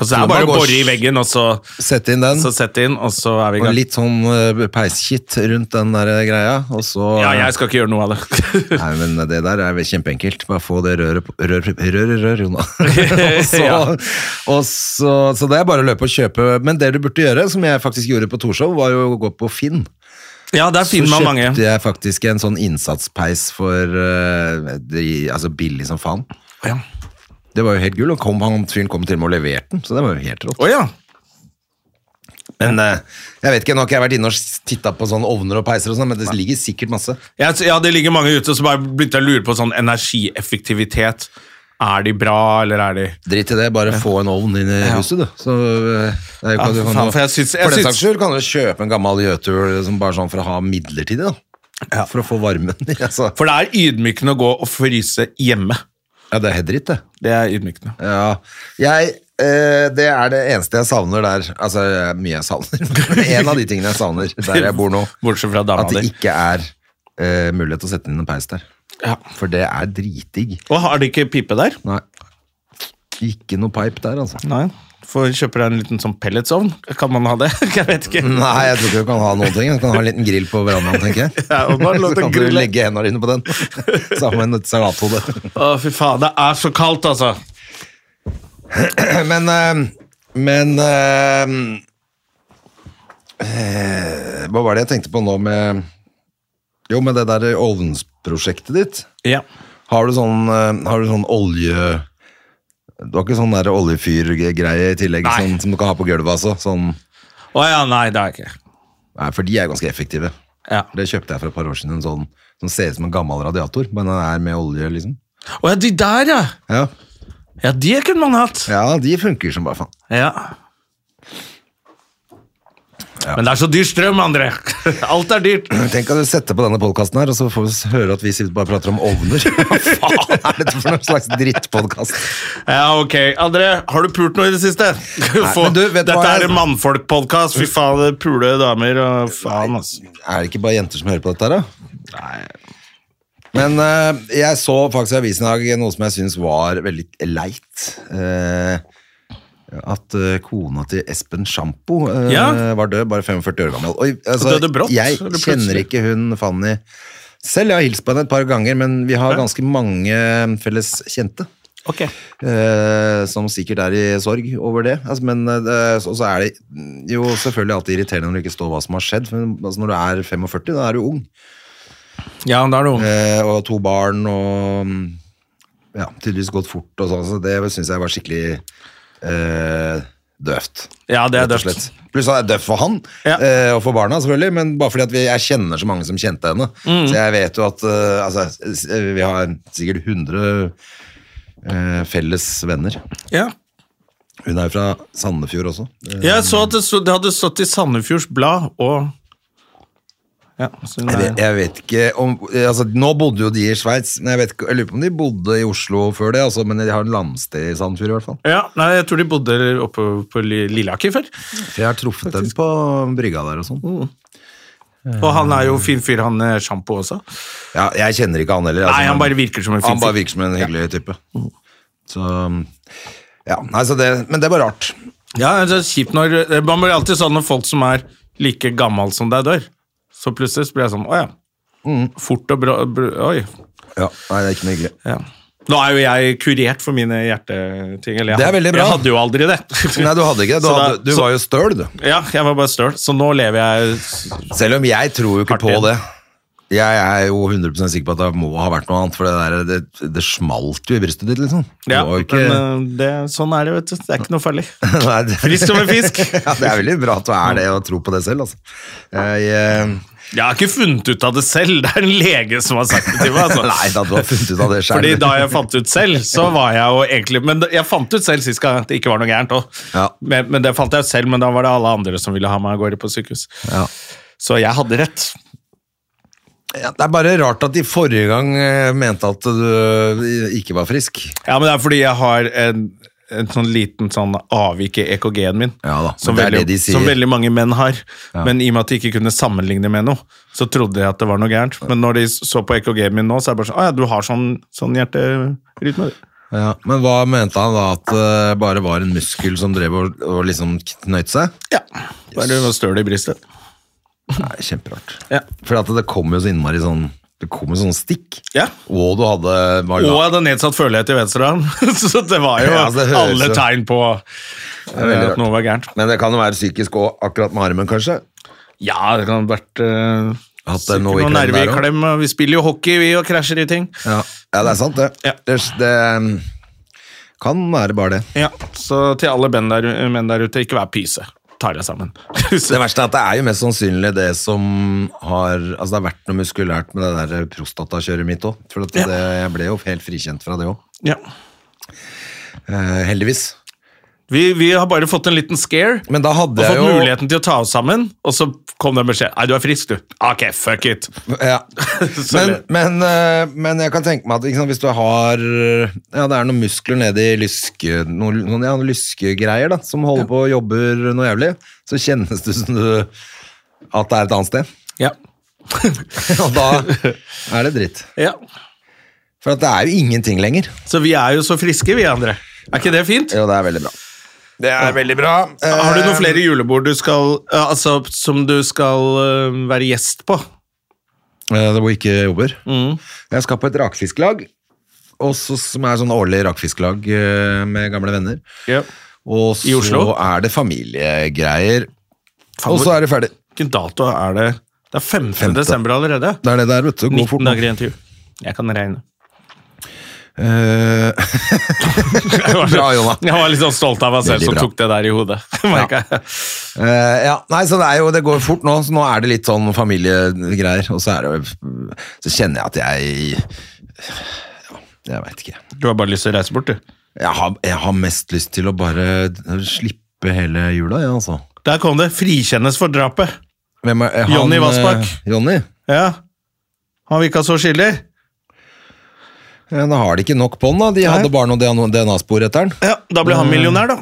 Altså, det
Så
er bare å
man går-
bore i veggen, og så,
Sette inn den,
så sette inn, og så er vi i
og
gang.
litt sånn eh, peiskitt rundt den der eh, greia, og så
Ja, jeg skal ikke gjøre noe av det. *laughs*
Nei, men det der er vel kjempeenkelt. Bare få det røret på Rør, rør, rør,
*laughs*
Jona. *laughs* og så,
Ja.
og så, så det er bare å løpe og kjøpe. Men det du burde gjøre, som jeg faktisk gjorde på Torshov, var jo å gå på Finn.
Ja, der finner man mange.
Så kjøpte jeg faktisk en sånn innsatspeis for eh, de, altså billig som faen.
Ja.
Det var jo helt gull, og kom, han fyren kom til og med og leverte den, så det var jo helt rått.
Å ja.
Men eh, jeg vet ikke, nå har ikke jeg vært inne og titta på sånne ovner og peiser og sånn, men det ligger sikkert masse.
Jeg, ja, det ligger mange ute som bare begynte å lure på sånn energieffektivitet. Er de bra, eller er de
Drit i det, bare få en ovn inn i huset, du. Så, eh, det er jo,
Ja,
kan, du
for
kan,
faen,
jo-
for jeg syns- jeg
for den
syns-
saks skyld kan du kjøpe en gammel gjøtul som bare sånn for å ha midlertidig, da. For å få varmen. i, *laughs* Altså.
For det er ydmykende å gå og fryse hjemme.
Ja, det er helt dritt, det.
Det er ydmykende.
Ja, jeg, eh, det er det eneste jeg savner der. Altså, det er mye jeg savner. *laughs* men en av de tingene jeg savner der jeg bor nå,
*laughs* Bortsett fra dama
at det
di.
ikke er eh, mulighet til å sette inn en peis der.
Ja.
For det er dritdigg.
Og har de ikke pipe der?
Nei. Ikke noe pipe der, altså.
Nei. For kjøper deg en liten sånn pelletsovn, kan man ha det? *laughs* Jeg vet ikke.
Nei, jeg tror ikke du kan ha noen ting. Du kan ha en liten grill på verandaen, tenker jeg.
*laughs* Ja, og bare la
Så
det
kan du
grille.
legge hendene dine på den, *laughs* sammen med et salathode. *clears throat*
Å, fy faen, det er så kaldt, altså.
Men eh, Men eh, eh, Hva var det jeg tenkte på nå med Jo, med det der ovnsprosjektet ditt.
Ja.
Har du sånn, eh, har du sånn olje Du har ikke sånn der oljefyrgreie i tillegg
Nei.
sånn, som du kan ha på gulvet? Altså, sånn,
Å ja, nei, det er jeg ikke.
nei, for de er ganske effektive.
Ja.
Det kjøpte jeg for et par år siden. En sånn som ser ut som en gammel radiator, men den er med olje, liksom.
Å ja, de der, ja.
Ja,
Ja, de kunne man hatt.
ja de funker som bare faen.
Ja. Men det er så dyr strøm, André. *laughs* Alt er dyrt.
Tenk at du setter på denne podkasten her, og så får vi s- høre at vi sitter bare og prater om ovner. *laughs* Hva faen er dette for noen slags drittpodkast?
Ja, ok. André, har du pult noe i det siste? Få-
men du, vet du
Dette
hva
er
jeg-
en mannfolkpodkast. Fy faen, det pule damer og faen, altså.
Er det ikke bare jenter som hører på dette her, da? Men eh, jeg så faktisk i avisen i dag noe som jeg syns var veldig leit. Eh, at eh, kona til Espen Sjampo eh,
Ja.
var død, bare 45 år gammel. Oi, altså,
Og døde brått,
jeg
eller plutselig?
kjenner ikke hun Fanny selv. Jeg har hilst på henne et par ganger, men vi har
Ja.
ganske mange felles kjente.
Ok.
Eh, som sikkert er i sorg over det. Altså, men eh, så så er det jo selvfølgelig alltid irriterende når det ikke står hva som har skjedd. For altså, når du er 45, da er du ung.
Ja, da er du ung.
Eh, og to barn og mm, ja, tydeligvis gått fort og sånn. Så det syns jeg var skikkelig eh, døvt.
Ja, det er
rett og
døft.
slett. Pluss at det er døvt for han
Ja.
eh, og for barna, selvfølgelig. Men bare fordi at vi, jeg kjenner så mange som kjente henne.
Mm.
Så jeg vet jo at eh, altså, s- vi har sikkert 100 eh, felles venner.
Ja.
Hun er jo fra Sandefjord også.
Jeg så at det, sto- det hadde stått i Sandefjords Blad og Ja, så
Jeg vet,
det er
jeg vet ikke om altså, Nå bodde jo de i Sveits, men jeg, vet, ikke- jeg lurer på om de bodde i Oslo før det. Altså, men de har en landsted i Sandefjord, i hvert fall.
ja, nei, jeg tror de bodde oppe på Li- Lilleaker før.
For jeg har truffet dem på brygga der og sånn.
Og han er jo fin fyr, han eh, Sjampo også.
Ja, jeg kjenner ikke han heller. altså,
Nei, han
men-
bare virker som en fin
han bare
fyr.
virker som en hyggelig type. Så ja, nei, så det, Men det var rart.
Ja, det er kjipt når Man blir alltid sånn når folk som er like gammel som deg, dør. Så plutselig så blir jeg sånn Å ja. Fort og bra br Oi.
Ja, nei, det er ikke noe hyggelig.
Ja. Nå er jo jeg kurert for mine hjerteting. Eller jeg,
Det er veldig bra.
Jeg hadde jo aldri det.
*laughs* Nei, du hadde ikke det. Du,
Så da-
hadde, du
så-
var jo støl, du.
Ja, jeg var bare støl. Så nå lever jeg
Selv om jeg tror jo ikke
Artig.
på det. Jeg er jo 100 sikker på at det må ha vært noe annet, for det, der, det, det smalt jo i brystet ditt, liksom. Det
Ja,
var jo ikke... *laughs*
men eh, det, sånn er det, vet du. Det er ikke noe farlig.
Nei, det-
Frisk som en fisk.
*laughs* ja, det er veldig bra at du er det og tror på det selv, altså. Jeg, eh,
Jeg har ikke funnet ut av det selv. Det er en lege som har sagt det til meg. Altså.
nei, da du har funnet ut av det selv.
Fordi da jeg fant ut selv, så var jeg jo egentlig Men jeg fant ut selv sist gang at det ikke var noe gærent òg.
Ja.
Men, men det fant jeg selv, men da var det alle andre som ville ha meg av gårde på sykehus.
Ja.
Så jeg hadde rett.
Ja, det er bare rart at de forrige gang eh, mente at du eh, ikke var frisk.
Ja, men det er fordi jeg har en, en sånn liten sånn avvik i EKG-en min.
Ja da,
som,
men det er
veldig,
det de sier.
som veldig mange menn har.
Ja.
Men i og med at de ikke kunne sammenligne med noe, så trodde jeg at det var noe gærent. Men når de så på EKG-en min nå, så er det bare sånn Å ja, du har sånn, sånn hjerterytme. du.»
Ja, men hva mente han da? At det bare var en muskel som drev og, og liksom knøyte seg?
Ja. Bare yes. støl i brystet.
Nei, kjemperart.
Ja.
For at det kom jo så innmari sånn Det kom jo sånne stikk.
Ja.
Og du hadde var
Og jeg
la-
hadde nedsatt følelighet i venstrehånd, *laughs* så det var jo
Ja, altså, det høres
alle
jo-
tegn på
veldig
at
rart.
noe var gærent.
Men det kan jo være psykisk òg, akkurat med armen, kanskje.
Ja, det kan ha vært eh,
At det er
sikkert
noe i
noen
klem
nerver
der
i
også.
klem. og Vi spiller jo hockey, vi, og krasjer i ting.
Ja, ja det er sant, det.
Ja.
det. Det um, kan være bare det.
Ja, Så til alle menn der, menn der ute, ikke vær pyse. Tar deg sammen. *laughs*
Det verste er at det er jo mest sannsynlig det som har Altså det har vært noe muskulært med det der prostatakjøret mitt òg. For at det, jeg ble jo helt frikjent fra det òg.
Ja.
Eh, heldigvis.
Vi, vi har bare fått en liten scare.
Men da hadde
og
jeg
fått
jo
muligheten til å ta oss sammen, og så kom det en beskjed. Nei, du er frisk, du. Ok, fuck it. *laughs*
Ja. Men,
Sorry.
men, eh, men jeg kan tenke meg at ikke sant, hvis du har Ja, det er noen muskler nede i lyske noen, noen, ja, noen lyskegreier da, som holder på og jobber noe jævlig, så kjennes det som du at det er et annet sted. *laughs*
Ja.
Og da er det dritt.
ja.
For at det er jo ingenting lenger.
Så vi er jo så friske, vi andre. Er ikke det fint?
Jo, det er veldig bra.
Det er veldig bra. Har
Eh,
du noen flere julebord du skal, ja, altså, som du skal eh, være gjest på?
Eh, Det hvor jeg ikke jobber.
Mm.
Jeg skal på et rakfisklag, og så- som er sånn årlig rakfisklag eh, med gamle venner. Og
I Oslo?
så er det familiegreier,
Faen,
og så
hvor-
er det ferdig.
Hvilken dato er det? Det er 5.
Femte.
desember allerede.
Det er det der, vet du. Gå
19
fort. nå.
dager igjen til jul. Jeg kan
*laughs*
regne.
Eh, *laughs*
Jeg var,
Bra, Jonna.
*laughs* jeg var litt sånn stolt av meg selv
Veldig
som
bra.
tok det der i hodet. *laughs* merker jeg.
eh, ja, nei, så det er jo Det går fort nå, så nå er det litt sånn familiegreier. Og så er det jo Så kjenner jeg at jeg Ja, jeg veit ikke.
Du har bare lyst til å reise bort, du.
Jeg har, jeg har mest lyst til å bare slippe hele jula, jeg, altså.
Der kom det. Frikjennes for drapet.
Hvem er, han,
Johnny
eh,
Vassbakk.
Johnny?
Ja. Han virka så skyldig.
Ja, da har de ikke nok på den, da. De hadde bare noen DNA-spor etter den.
Ja, da ble
Eh.
han millionær, da.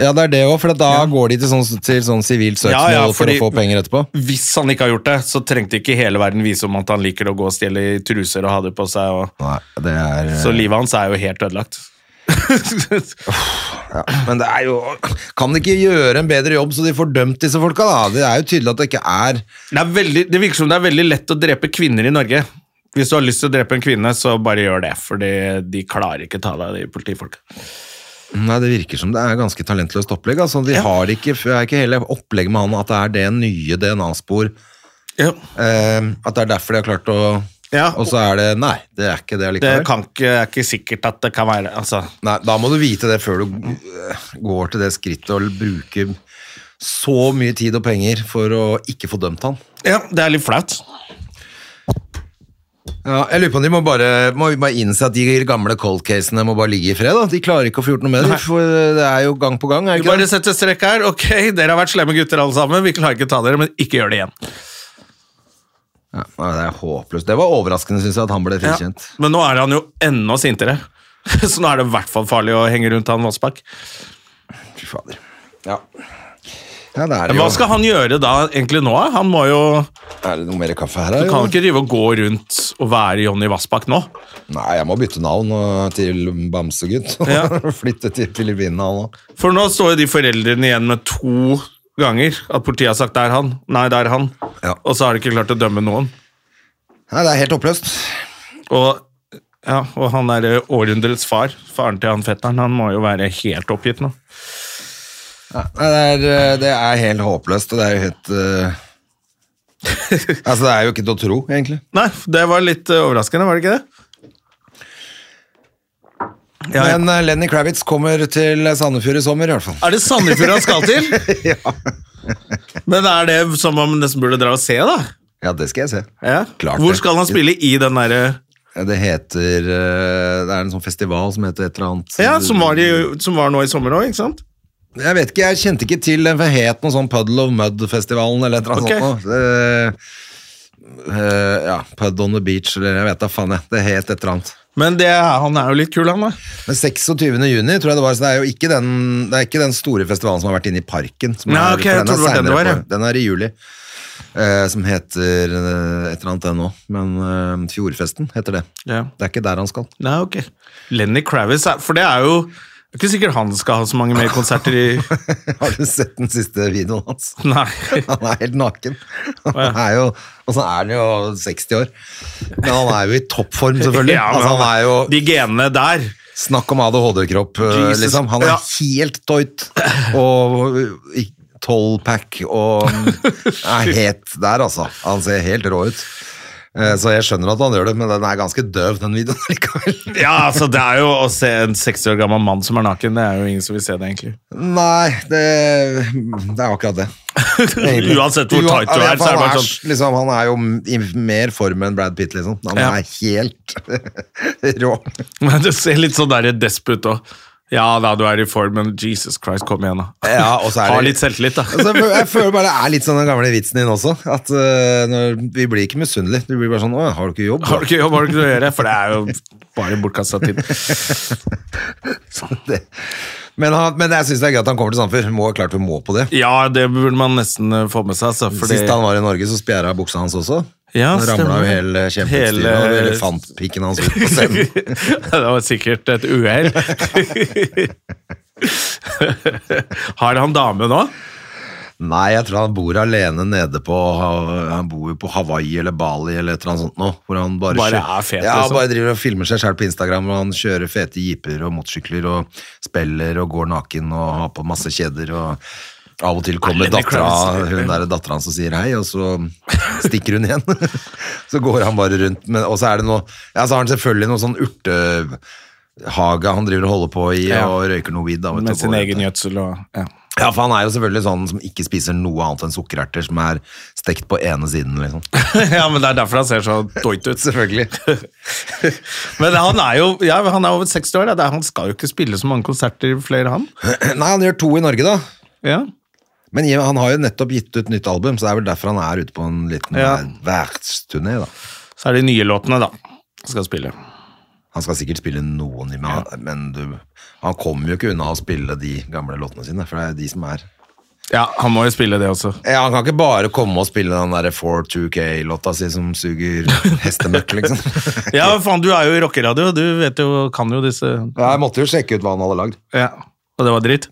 Ja, det er det òg, for da går de til sånn, til sånn sivilt søksmål
Ja, ja,
for å
fordi-
få penger etterpå.
Hvis han ikke har gjort det, så trengte ikke hele verden vise om at han liker å gå og stjele i truser og ha det på seg. Og...
Nei, det er eh,
Så livet hans er jo helt ødelagt. *laughs*
Ja, eh, men det er jo Kan de ikke gjøre en bedre jobb så de får dømt disse folka, da? Det er jo tydelig at det ikke er
Det, er veldig, det virker som det er veldig lett å drepe kvinner i Norge. Hvis du har lyst til å drepe en kvinne, så bare gjør det, for de klarer ikke ta deg, de politifolka.
Nei, det virker som det er ganske talentløst opplegg. Altså, de har ikke, det er ikke hele opplegget med han at det er det nye DNA-spor
Ja.
eh, At det er derfor de har klart å
Ja.
Og så er det Nei, det er ikke det
Det
allikevel.
kan ikke, er ikke sikkert at det kan være altså,
Nei, da må du vite det før du eh, går til det skrittet og bruker så mye tid og penger for å ikke få dømt han.
Ja, det er litt flaut.
Ja, jeg lurer på om de må bare, må vi bare innse at de gamle cold casene må bare ligge i fred. Da. De klarer ikke å få gjort noe med det, for det er jo gang på gang. Er
Vi
det ikke
bare
det?
setter strekk her. Ok, dere har vært slemme gutter alle sammen. Vi klarer ikke å ta dere, men ikke gjør det igjen.
Ja, nei, det er håpløst. Det var overraskende, syns jeg, at han ble
Ja.
frikjent.
Men nå er han jo enda sintere. *laughs* Så nå er det i hvert fall farlig å henge rundt han Vassbakk.
Fy fader. Ja. ja, det er
Men
jo
Hva skal han gjøre da egentlig nå? Han må jo
Er det noe mer kaffe her?
Du
eller?
kan jo ikke drive og gå rundt og være Jonny Vassbakk nå.
Nei, jeg må bytte navn øh, til Bamsegutt. *laughs*
Ja.
Flytte til Filippinene han òg.
For nå står jo de foreldrene igjen med to ganger at politiet har sagt det er han, nei det er han,
Ja.
og så har de ikke klart å dømme noen.
Nei, det er helt håpløst.
Og, ja, og han er eh, århundrets far, faren til han fetteren, han må jo være helt oppgitt nå.
Nei, det er, øh, det er helt håpløst, og det er jo helt øh, *laughs* Altså, det er jo ikke til å tro, egentlig.
Nei, det var litt eh, overraskende, var det ikke det? Ja, ja.
Men øh, Lenny Kravitz kommer til Sandefjord i sommer, i hvert fall.
Er det Sandefjord han skal
*laughs*
til? Men er det som om man nesten burde dra og se, da?
Ja, det skal jeg se.
Ja.
Klart
Hvor
det.
skal han spille i den eh, derre
Ja, Det heter øh, Det er en sånn festival som heter et eller annet
Ja, som var, i, som var nå i sommer òg, ikke sant?
Jeg vet ikke, jeg kjente ikke til den, for det het noe sånn Puddle of Mud-festivalen eller et eller annet
Ok.
sånt. noe. Eh, eh, ja, Pud on the Beach, eller jeg vet da faen jeg. Det het et eller annet.
Men det, er- han er jo litt kul, han da.
Men 26. juni, tror jeg det var, så det er jo ikke den, det er ikke den store festivalen som har vært inne i parken. Som
Nei,
er-
ok,
for
jeg
den er
trodde det var den det
senere
var,
på- Den er i juli. eh, som heter eh, et eller annet den nå, men eh, Fjordfesten heter det.
Ja.
Det er ikke der han skal. *laughs*
Nei, ok. Lenny Kravitz, er, for det er jo det er ikke sikkert han skal ha så mange mer konserter i *laughs*
Har du sett den siste videoen hans?
Nei.
Han er helt naken.
ja.
Han er jo, og så er han jo 60 år. Men han er jo i
*laughs*
toppform, selvfølgelig.
Ja, men
altså, han er jo,
De genene der.
Snakk om ADHD-kropp, eh,
Jesus.
liksom. Han er
Ja.
helt tøyt. Og eh, i mm,
*laughs*
12-pack og er helt der, altså. Han ser helt rå ut. Eh, Så jeg skjønner at han gjør det, men den er ganske døv, den videoen likevel. *laughs*
Ja, altså det er jo Å se en 60 år gammel mann som er naken, det er jo ingen som vil se det, egentlig.
Nei, det, det er jo akkurat det.
*laughs*
egentlig.
Uansett hvor tight du er, så
Ja,
er det
han
bare
er
sånn *laughs*
Liksom, han er jo i mer form enn Brad Pitt, liksom. Han
Ja.
er helt *laughs* rå.
Men Du ser litt sånn der desput òg. Ja da, du er i form, men Jesus Christ, kom igjen, da.
Ja, og så
*laughs*
er
Ha
det-
litt selvtillit, da.
Altså, jeg føler- jeg føler bare det er litt sånn den gamle vitsen din også. At eh, når, Vi blir ikke misunnelige. Du blir bare sånn Å, har du ikke jobb? da?»
Har du ikke jobb, har du ikke noe å gjøre? For det er jo bare bortkasta tid.
*laughs* Det. Men, han, men jeg syns det er gøy at han kommer til Sandefjord. Må, klart vi må på det.
Ja, det burde man nesten eh, få med seg. Altså, fordi,
Sist han var i Norge, så spjæra buksa hans også.
Ja,
Han ramla
stemmer.
jo hele kjempeutstyret
Hele-
og elefantpikken hans ut på
*laughs*
scenen.
*laughs* det var sikkert et uhell. *laughs* har han dame nå?
Nei, jeg tror han bor alene nede på Han bor jo på Hawaii eller Bali eller et eller annet sånt nå. Hvor han bare,
Bare
kjører-
er fet,
ja, han
liksom.
bare driver og filmer seg selv på Instagram, og han kjører fete jeeper og motorsykler og spiller og går naken og har på masse kjeder og av og til kommer
Lenny
dattera,
Kravitz.
hun der dattera hans og sier hei, og
*laughs*
så stikker hun igjen. *laughs* så går han bare rundt, men, og så er det noe Ja, så har han selvfølgelig noe sånn urtehage han driver og holder på i,
Ja.
og røyker noe weed. da, vet du,
Med
og
sin
går rundt
egen
der.
gjødsel og ja. *laughs*
Ja, for han er jo selvfølgelig sånn som ikke spiser noe annet enn sukkererter som er stekt på ene siden, liksom.
ja, men det er derfor han ser så doit ut.
Selvfølgelig.
Men han er jo ja, han er over 60 år, da. Det er- han skal jo ikke spille så mange konserter flere, han.
*clears throat* Nei, han gjør to i Norge, da.
Ja.
Men i- han har jo nettopp gitt ut nytt album, så det er vel derfor han er ute på en liten
Ja.
eh, verdensturné, da.
Så er det de nye låtene, da. Han skal spille.
Han skal sikkert spille noen i meg, men du, han kommer jo ikke unna å spille de gamle låtene sine, for det er de som er
Ja, han må jo spille det også. *laughs*
ja, Han kan ikke bare komme og spille den derre 4-2K-låta si som suger hestemøkk, liksom.
*laughs*
*laughs*
Ja, faen, du er jo i rockeradio, du vet jo, kan jo disse
Ja, jeg måtte jo sjekke ut hva han hadde lagd.
Ja. Og det var dritt.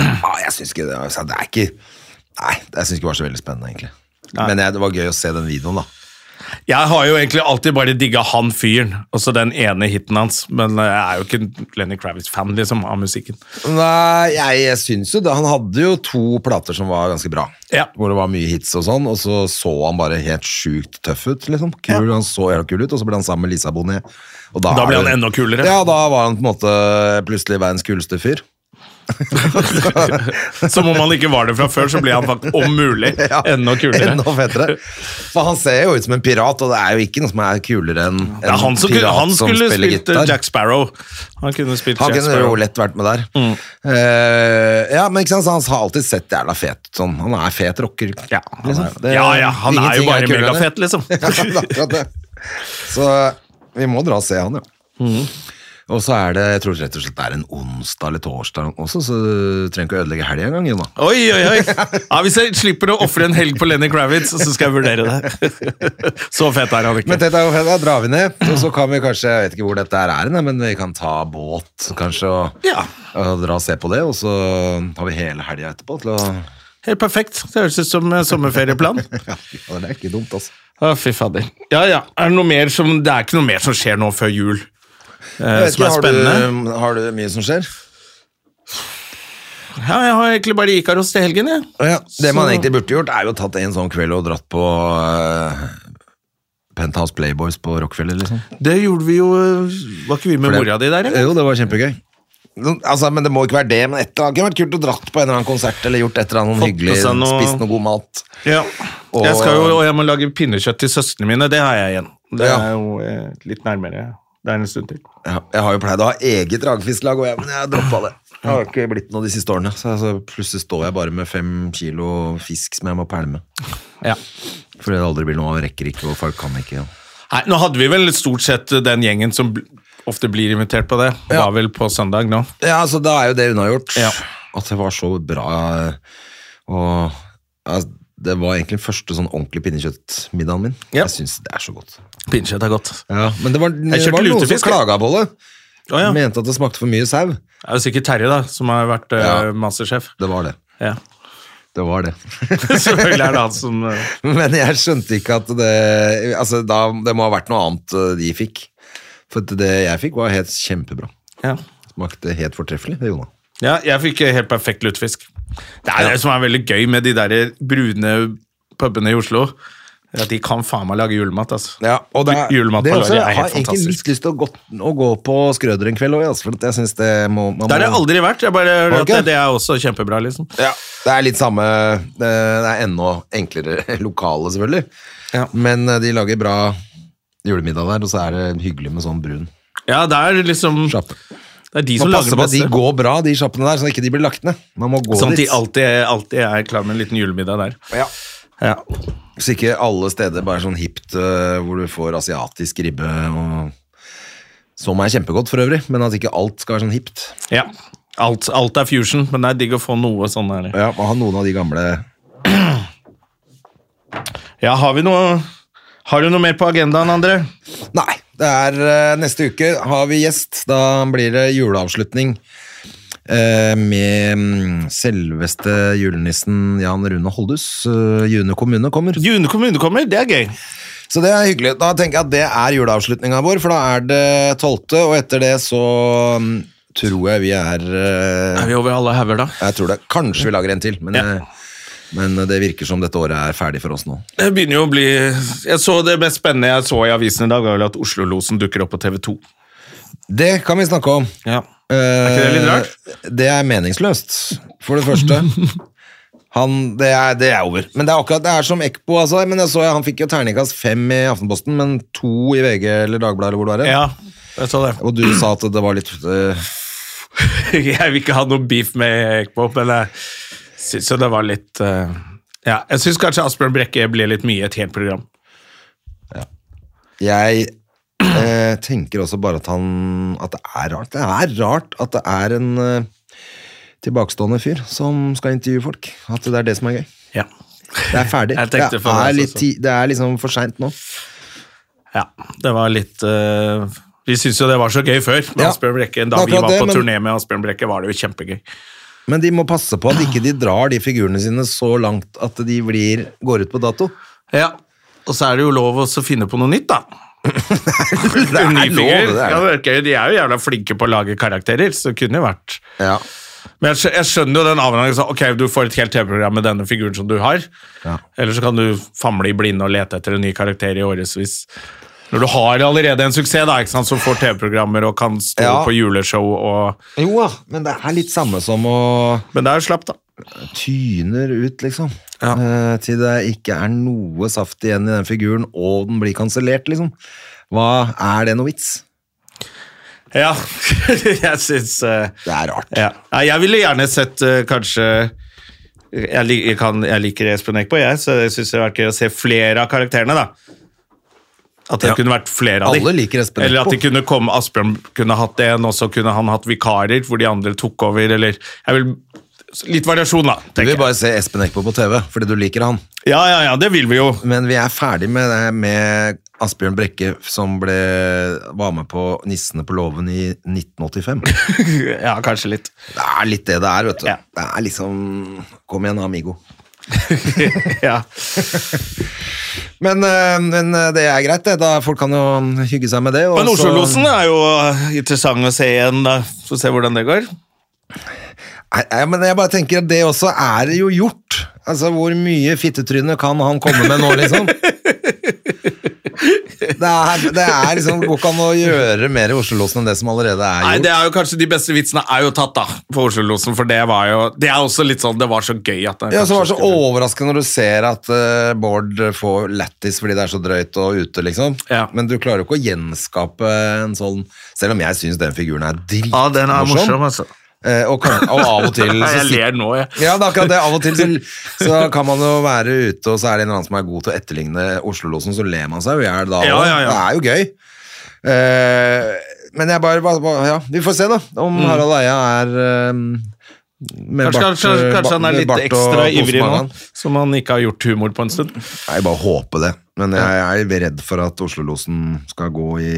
Ja, jeg syns ikke det, altså, det er ikke Nei, jeg syns ikke det var så veldig spennende, egentlig. Men jeg, det var gøy å se den videoen, da.
Jeg har jo egentlig alltid bare digga han fyren, også den ene hiten hans. Men jeg er jo ikke Lenny Kravitz-fan, liksom, av musikken.
Nei, jeg, jeg syns jo det. Han hadde jo to plater som var ganske bra.
Ja.
Hvor det var mye hits og sånn, og så så han bare helt sjukt tøff ut, liksom. Kul, Han så helt kul ut, og så ble han sammen med Lisa Bonet. Og
Da
er
ble han
det-
enda kulere.
Ja, da var han på en måte plutselig verdens kuleste fyr. *laughs*
Som om han ikke var det fra før, så blir han faktisk om mulig
*laughs* Ja,
enda kulere.
Enda fetere. For han ser jo ut som en pirat, og det er jo ikke noe som er kulere enn en
Det er han som, kunne,
pirat
han
som
skulle
spiller
spilt eh,
gitar.
Jack Sparrow. Han kunne spilt
Han
Jack
kunne jo
Sparrow.
lett vært med der.
Mm.
Eh, ja, men ikke sant, så Han har alltid sett jævla fet ut. Sånn. Han er fet rocker.
Ja, han er,
Liksom. Det-
ja, ja, han er jo
ingenting
bare
kulere enn
megafet,
det.
liksom.
*laughs* ja, det er akkurat det. Så vi må dra og se han, ja.
Mm.
Og så er det jeg tror rett og slett det er en onsdag eller torsdag også, så du trenger ikke å ødelegge helga engang. Jonna.
Oi, oi,
*laughs*
oi! Ja, hvis jeg slipper å ofre en helg på Lenny Kravitz, så skal jeg vurdere det. *laughs* Så fet er han
Men
ikke.
dette er jo fett, da drar vi ned, og så kan vi kanskje Jeg vet ikke hvor dette her er, hen, men vi kan ta båt kanskje og,
Ja.
og dra og se på det. Og så har vi hele helga etterpå til å
Helt perfekt. Det høres ut som eh, sommerferieplan.
Ja, fy faen, det er ikke dumt, altså.
Å, fy fader. Ja, ja. Er det, noe mer som, det er ikke noe mer som skjer nå før jul eh,
Jeg vet
som
ikke,
er
har
spennende.
Du, har du mye som skjer?
Ja, jeg har egentlig bare Ikaros til helgen, jeg.
Det man
Så-
egentlig burde gjort, er jo tatt en sånn kveld og dratt på eh, Penthouse Playboys på Rockefeller, liksom.
Det gjorde vi jo eh, Var ikke vi med mora di der, eller?
Jo, det var kjempegøy. Sånn, Altså, men Det må ikke være det, men et eller annet. det kunne vært kult å dratt på en eller annen konsert eller gjort et eller annet
Fått
noe hyggelig,
på seg noe-
spist noe god mat.
Ja.
Og-
Jeg skal jo, og jeg må lage pinnekjøtt til søstrene mine. Det har jeg igjen. Det
Ja.
er jo eh, litt nærmere. Det er en stund til.
Ja, jeg har jo pleid å ha eget ragfisklag, og jeg, men jeg droppa det. Det har ikke blitt noe de siste årene, så altså, plutselig står jeg bare med fem kilo fisk som jeg må pælme.
Ja.
Fordi det aldri blir noe av, rekker ikke, og folk kan ikke.
Nei, nå hadde vi vel stort sett eh, den gjengen som bl- ofte blir invitert på det.
Ja.
Var vel på søndag nå.
Ja, altså da er jo det unnagjort.
Ja.
At det var så bra. eh, Og ja, det var egentlig den første sånn ordentlig pinnekjøttmiddagen min.
Ja.
Jeg syns det er så godt.
Pinnekjøtt er godt.
Men det var, det
kjøpte
var noen som
lutefisk, jeg.
klaga på det.
Å, ja.
Mente at det smakte for mye sau.
Det er jo sikkert Terje, da, som har vært eh,
Ja.
mastersjef.
Det var det.
Ja. *laughs*
Det var det.
Selvfølgelig er det han som eh,
*laughs* Men jeg skjønte ikke at det Altså, da, det må ha vært noe annet eh, de fikk. For at det jeg fikk, var helt kjempebra.
ja.
Smakte helt fortreffelig, det, Jona.
Ja, jeg fikk helt perfekt lutefisk. Det er det som er veldig gøy med de der brune pubene i Oslo. Ja, de kan faen meg lage julemat, altså.
Ja, og det, er-
Julemat
det
på
er også,
Lorry er helt
jeg har egentlig
fantastisk.
litt lyst til å gå, å gå på Skrøder en kveld òg, altså, for at jeg synes det må, man
Det har det
må-
aldri vært. Jeg bare,
det
at det,
ikke?
det er også kjempebra, liksom.
Ja, det er litt samme Det det er enda enklere *laughs* lokale, selvfølgelig.
Ja.
Men eh, de lager bra julemiddag der, og så er det hyggelig med sånn brun
Ja, det er liksom
sjappe.
Det er de som
Man
lager det
passer på at de
beste.
går bra, de sjappene der, så ikke de blir lagt ned. Man må gå
Sånn at de
dit.
alltid, alltid er klar med en liten julemiddag der.
Ja.
Ja.
Så ikke alle steder bare sånn hipt eh, hvor du får asiatisk ribbe og som er kjempegodt for øvrig, men at ikke alt skal være sånn hipt.
ja. Alt, alt er fusion, men det er digg å få noe sånn her.
Ja, man har noen av de gamle
Ja, har vi noe Har du noe mer på agendaen, André?
Nei, det er eh, neste uke har vi gjest. Da blir det juleavslutning eh, med mm, selveste julenissen Jan Rune Holdhus. Eh, June kommune kommer.
June kommune kommer, det er gøy.
Så det er hyggelig. Da tenker jeg at det er juleavslutninga vår, for da er det tolvte, og etter det så mm, tror jeg vi er eh,
Er vi over alle hauger, da?
Jeg tror det. Kanskje vi lager en til, men,
Ja.
eh, men det virker som dette året er ferdig for oss nå.
Det begynner jo å bli Jeg så Det mest spennende jeg så i avisen i dag, var vel at Oslo-losen dukker opp på TV 2.
Det kan vi snakke om.
Ja. Er ikke det litt rart?
Eh, Det er meningsløst, for det
*laughs*
første. Han, det, er, det er over. Men det er akkurat, det er som Ekpo. Altså, men jeg så, Han fikk jo terningkast fem i Aftenposten, men to i VG eller Dagbladet. eller hvor det var.
Ja, jeg så det.
Og du sa at det var litt eh,
*laughs* Jeg vil ikke ha noe beef med Ekbo, men jeg syns jo det var litt eh, Ja, jeg syns kanskje Asbjørn Brekke ble litt mye i et helt program.
Jeg eh, tenker også bare at han At det er rart. Det er rart at det er en eh, tilbakestående fyr som skal intervjue folk. At det er det som er gøy.
Ja.
Det er ferdig.
*laughs* Jeg
Det
tenkte for meg
er, litt,
også. sånn.
ti- det er liksom for seint nå.
ja det var litt eh, Vi syntes jo det var så gøy før med
Ja.
Asbjørn Brekke. Da
Det er
vi
akkurat
var
det,
på
men-
turné med Asbjørn Brekke, var det jo kjempegøy.
Men de må passe på at ikke de drar de figurene sine så langt at de blir, går ut på
*laughs*
dato.
Ja, og så er det jo lov å så finne på noe nytt, da.
Det er
Nye
lov,
figurer. Ja,
det der.
det er gøy. De er jo jævla flinke på å lage karakterer, så det kunne jo vært
Ja.
Men jeg, skjø- jeg skjønner jo den avhengen. sånn, Ok, du får et helt TV-program med denne figuren som du har.
Ja.
Eller så kan du famle i blinde og lete etter en ny karakter i årevis. Når du har allerede en suksess, da, ikke sant, som får TV-programmer og kan stå
Ja.
på juleshow og
Jo da, men det er litt samme som å
Men det er jo slapp, da.
tyner ut, liksom.
Ja.
Eh, til det ikke er noe saft igjen i den figuren, og den blir kansellert, liksom. Hva er det noe vits?
Ja. *laughs* jeg syns eh,
Det er rart.
Ja. Nei, jeg ville gjerne sett eh, kanskje jeg, lik, jeg, kan, jeg liker Espen Eckbo, jeg, så jeg syns det hadde vært gøy å se flere av karakterene. da. At det
Ja.
kunne vært flere av
Alle liker Espen
Eller at de
Eckbo.
kunne komme, Asbjørn kunne hatt en, og så kunne han hatt vikarer hvor de andre tok over, eller jeg vil, Litt variasjon, da.
Du
tenker
vil
jeg.
bare se Espen Eckbo på TV fordi du liker han.
Ja, ja, ja, det vil vi jo. *laughs*
Men vi er ferdig med det med Asbjørn Brekke, som ble, var med på Nissene på låven i
*laughs*
1985.
ja, kanskje
*laughs*
litt.
Det er litt det det er, vet du.
Ja.
Det er liksom Kom igjen, amigo.
ja.
Men, eh, men eh, det er greit, det. Da folk kan jo hygge seg med det. og
Men
så-
Oslo-losen er jo eh, interessant å se igjen, da. Får se hvordan det går.
Nei, nei, men jeg bare tenker at det også er jo gjort. Altså, Hvor mye fittetryne kan han komme med nå,
*laughs*
liksom? Det er, det er liksom, går ikke an å gjøre mer i Oslo-losen enn det som allerede er
Nei,
gjort.
det er jo kanskje De beste vitsene er jo tatt da på Oslo-losen, for det var jo Det er også litt sånn Det var så gøy at det
Ja, så var det
kanskje
så overraskende når du ser at eh, Bård får lættis fordi det er så drøyt og ute, liksom.
Ja.
Men du klarer jo ikke å gjenskape en sånn Selv om jeg syns den figuren er dritmorsom.
Ja, den er morsom, altså.
Eh, og, kan, og av
*laughs*
og til
Nei,
så
jeg
sit-
ler nå, jeg.
Ja, det er akkurat det. Av og til så,
*laughs*
så kan man jo være ute, og så er det en eller annen som er god til å etterligne Oslo-losen, så ler man seg jo i hjel da.
Ja,
også.
ja, ja.
Det er jo gøy. Eh, men jeg bare, bare, bare Ja, vi får se, da, om Harald Eia er eh, med
Mm. Kanskje,
bart, eh,
kanskje, kanskje han
med
er litt
bart og
ekstra ivrig nå,
kosemagen.
som han ikke har gjort humor på en stund.
Jeg bare håper det. Men jeg, jeg er redd for at Oslo-losen skal gå i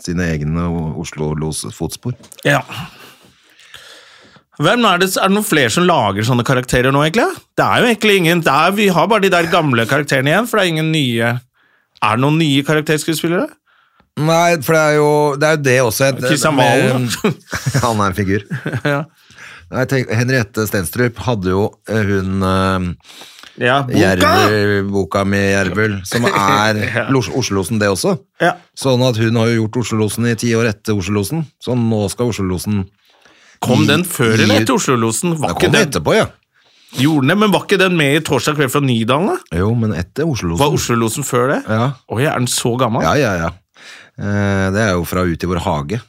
sine egne Oslo-los-fotspor.
Ja. Hvem er, det, er det noen flere som lager sånne karakterer nå, egentlig? Det er jo egentlig ingen det er, Vi har bare de der gamle karakterene igjen, for det er ingen nye Er det noen nye karakterskuespillere?
Nei, for det er jo det, er jo det også et-
Kristian
*laughs*
Valen, da.
Han er en figur.
Ja.
Nei, tenk, Henriette Stenstrup hadde jo eh, hun eh,
Ja, boka!
Jerv, boka mi Jervel, *laughs* som er Los- Oslo-losen, det også.
Ja.
Sånn at hun har jo gjort Oslo-losen i ti år etter Oslo-losen, så nå skal Oslo-losen
Kom
i-
den før eller
i-
etter Oslo-losen? Var
Da
ikke
kom det
den-
etterpå, ja.
Gjorde den det, men var ikke den med i torsdag kveld fra Nydalen? da?
Jo, men etter Oslo-losen.
Var Oslo-losen før det?
Ja.
Oi, er den så gammel?
Ja, ja, ja. Eh, Det er jo fra Ut i vår hage.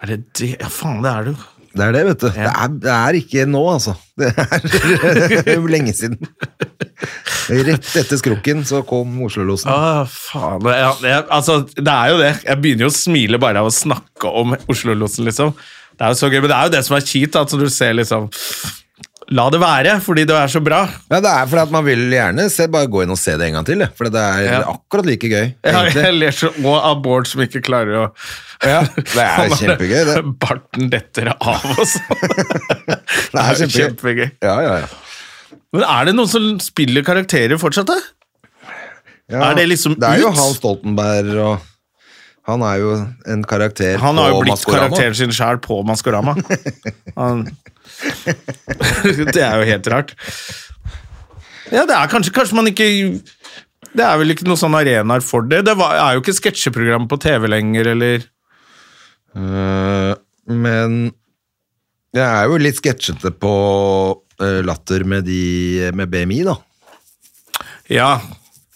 Er det det? Ja, faen, det er det jo.
Det er det, vet du. Det, er, det er ikke nå, altså. *laughs* Det er lenge siden. Rett etter skrukken så kom Oslo-losen.
Ah, faen. Det, ja, det, altså, det er jo det. Jeg begynner jo å smile bare av å snakke om Oslo-losen, liksom. Det er jo så gøy, men det er jo det som er kjipt, at du ser liksom La det være, fordi det er så bra.
Ja, det er fordi at man vil gjerne se, bare gå inn og se det en gang til, det. for det er
Ja.
akkurat like gøy.
Jeg,
egentlig.
jeg ler så òg av Bård som ikke klarer å
Ja,
*laughs*
det er kjempegøy, det.
Barten detter av og sånn.
*laughs*
Det er jo kjempegøy.
Ja, ja, ja.
Men er det noen som spiller karakterer fortsatt, da?
ja.
Er det liksom
Det er jo
ut?
Hans Stoltenberg og Han er jo en karakter
Han har jo
på
blitt
Maskorama.
karakteren sin sjæl på Maskorama. Han... *laughs* det er jo helt rart. Ja, det er kanskje, kanskje man ikke Det er vel ikke noen sånn arenaer for det. Det var, er jo ikke sketsjeprogram på TV lenger, eller
Eh, men jeg er jo litt sketsjete på eh, latter med, de, med BMI, da.
Ja.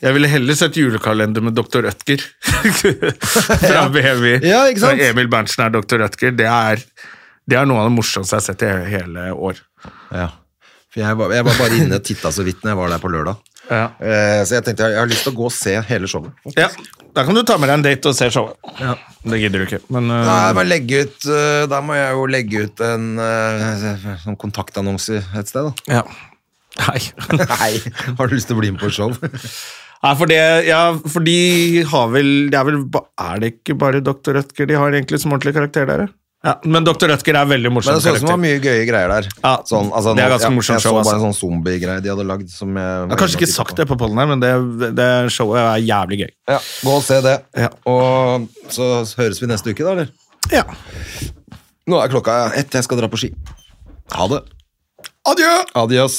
Jeg ville heller sett julekalender med Dr. Rødtger. *laughs* Fra BMI.
Ja, ikke sant?
Fra Emil Berntsen er Dr. Rødtger. Det er, det er noe av det morsomste jeg har sett i he- hele år.
Ja. For jeg var, jeg var bare inne og titta så vidt når jeg var der på lørdag.
Ja.
Eh, så jeg tenkte jeg, jeg har lyst til å gå og se hele showet.
ja. Da kan du ta med deg en date og se showet. Det gidder du ikke, men uh,
Nei, jeg må legge ut, eh, da må jeg jo legge ut en eh, sånn kontaktannonse et sted, da.
Ja. *laughs* Nei.
Nei, har du lyst til å bli med på et show?
Sånn Nei, for, det, ja, for de har vel det er, vel ba- er det ikke bare Dr. Rødtger de har egentlig som ordentlig karakter der? ja? Ja, men Dr. Rødtger er veldig morsom
Men det så ut som det
karakter.
var mye gøye greier der. Sånn, altså,
Ja, det er ganske
ja,
morsomt
jeg
show,
så bare
altså.
en sånn zombiegreie de hadde lagd. Som jeg,
Jeg har kanskje ikke sagt det på pollen her, men det, det showet er jævlig gøy.
Ja, gå og se det.
Ja.
Og så høres vi neste uke, da, eller?
Ja.
Nå er klokka ett, jeg skal dra på ski. Ha det.
Adjø!
Adios.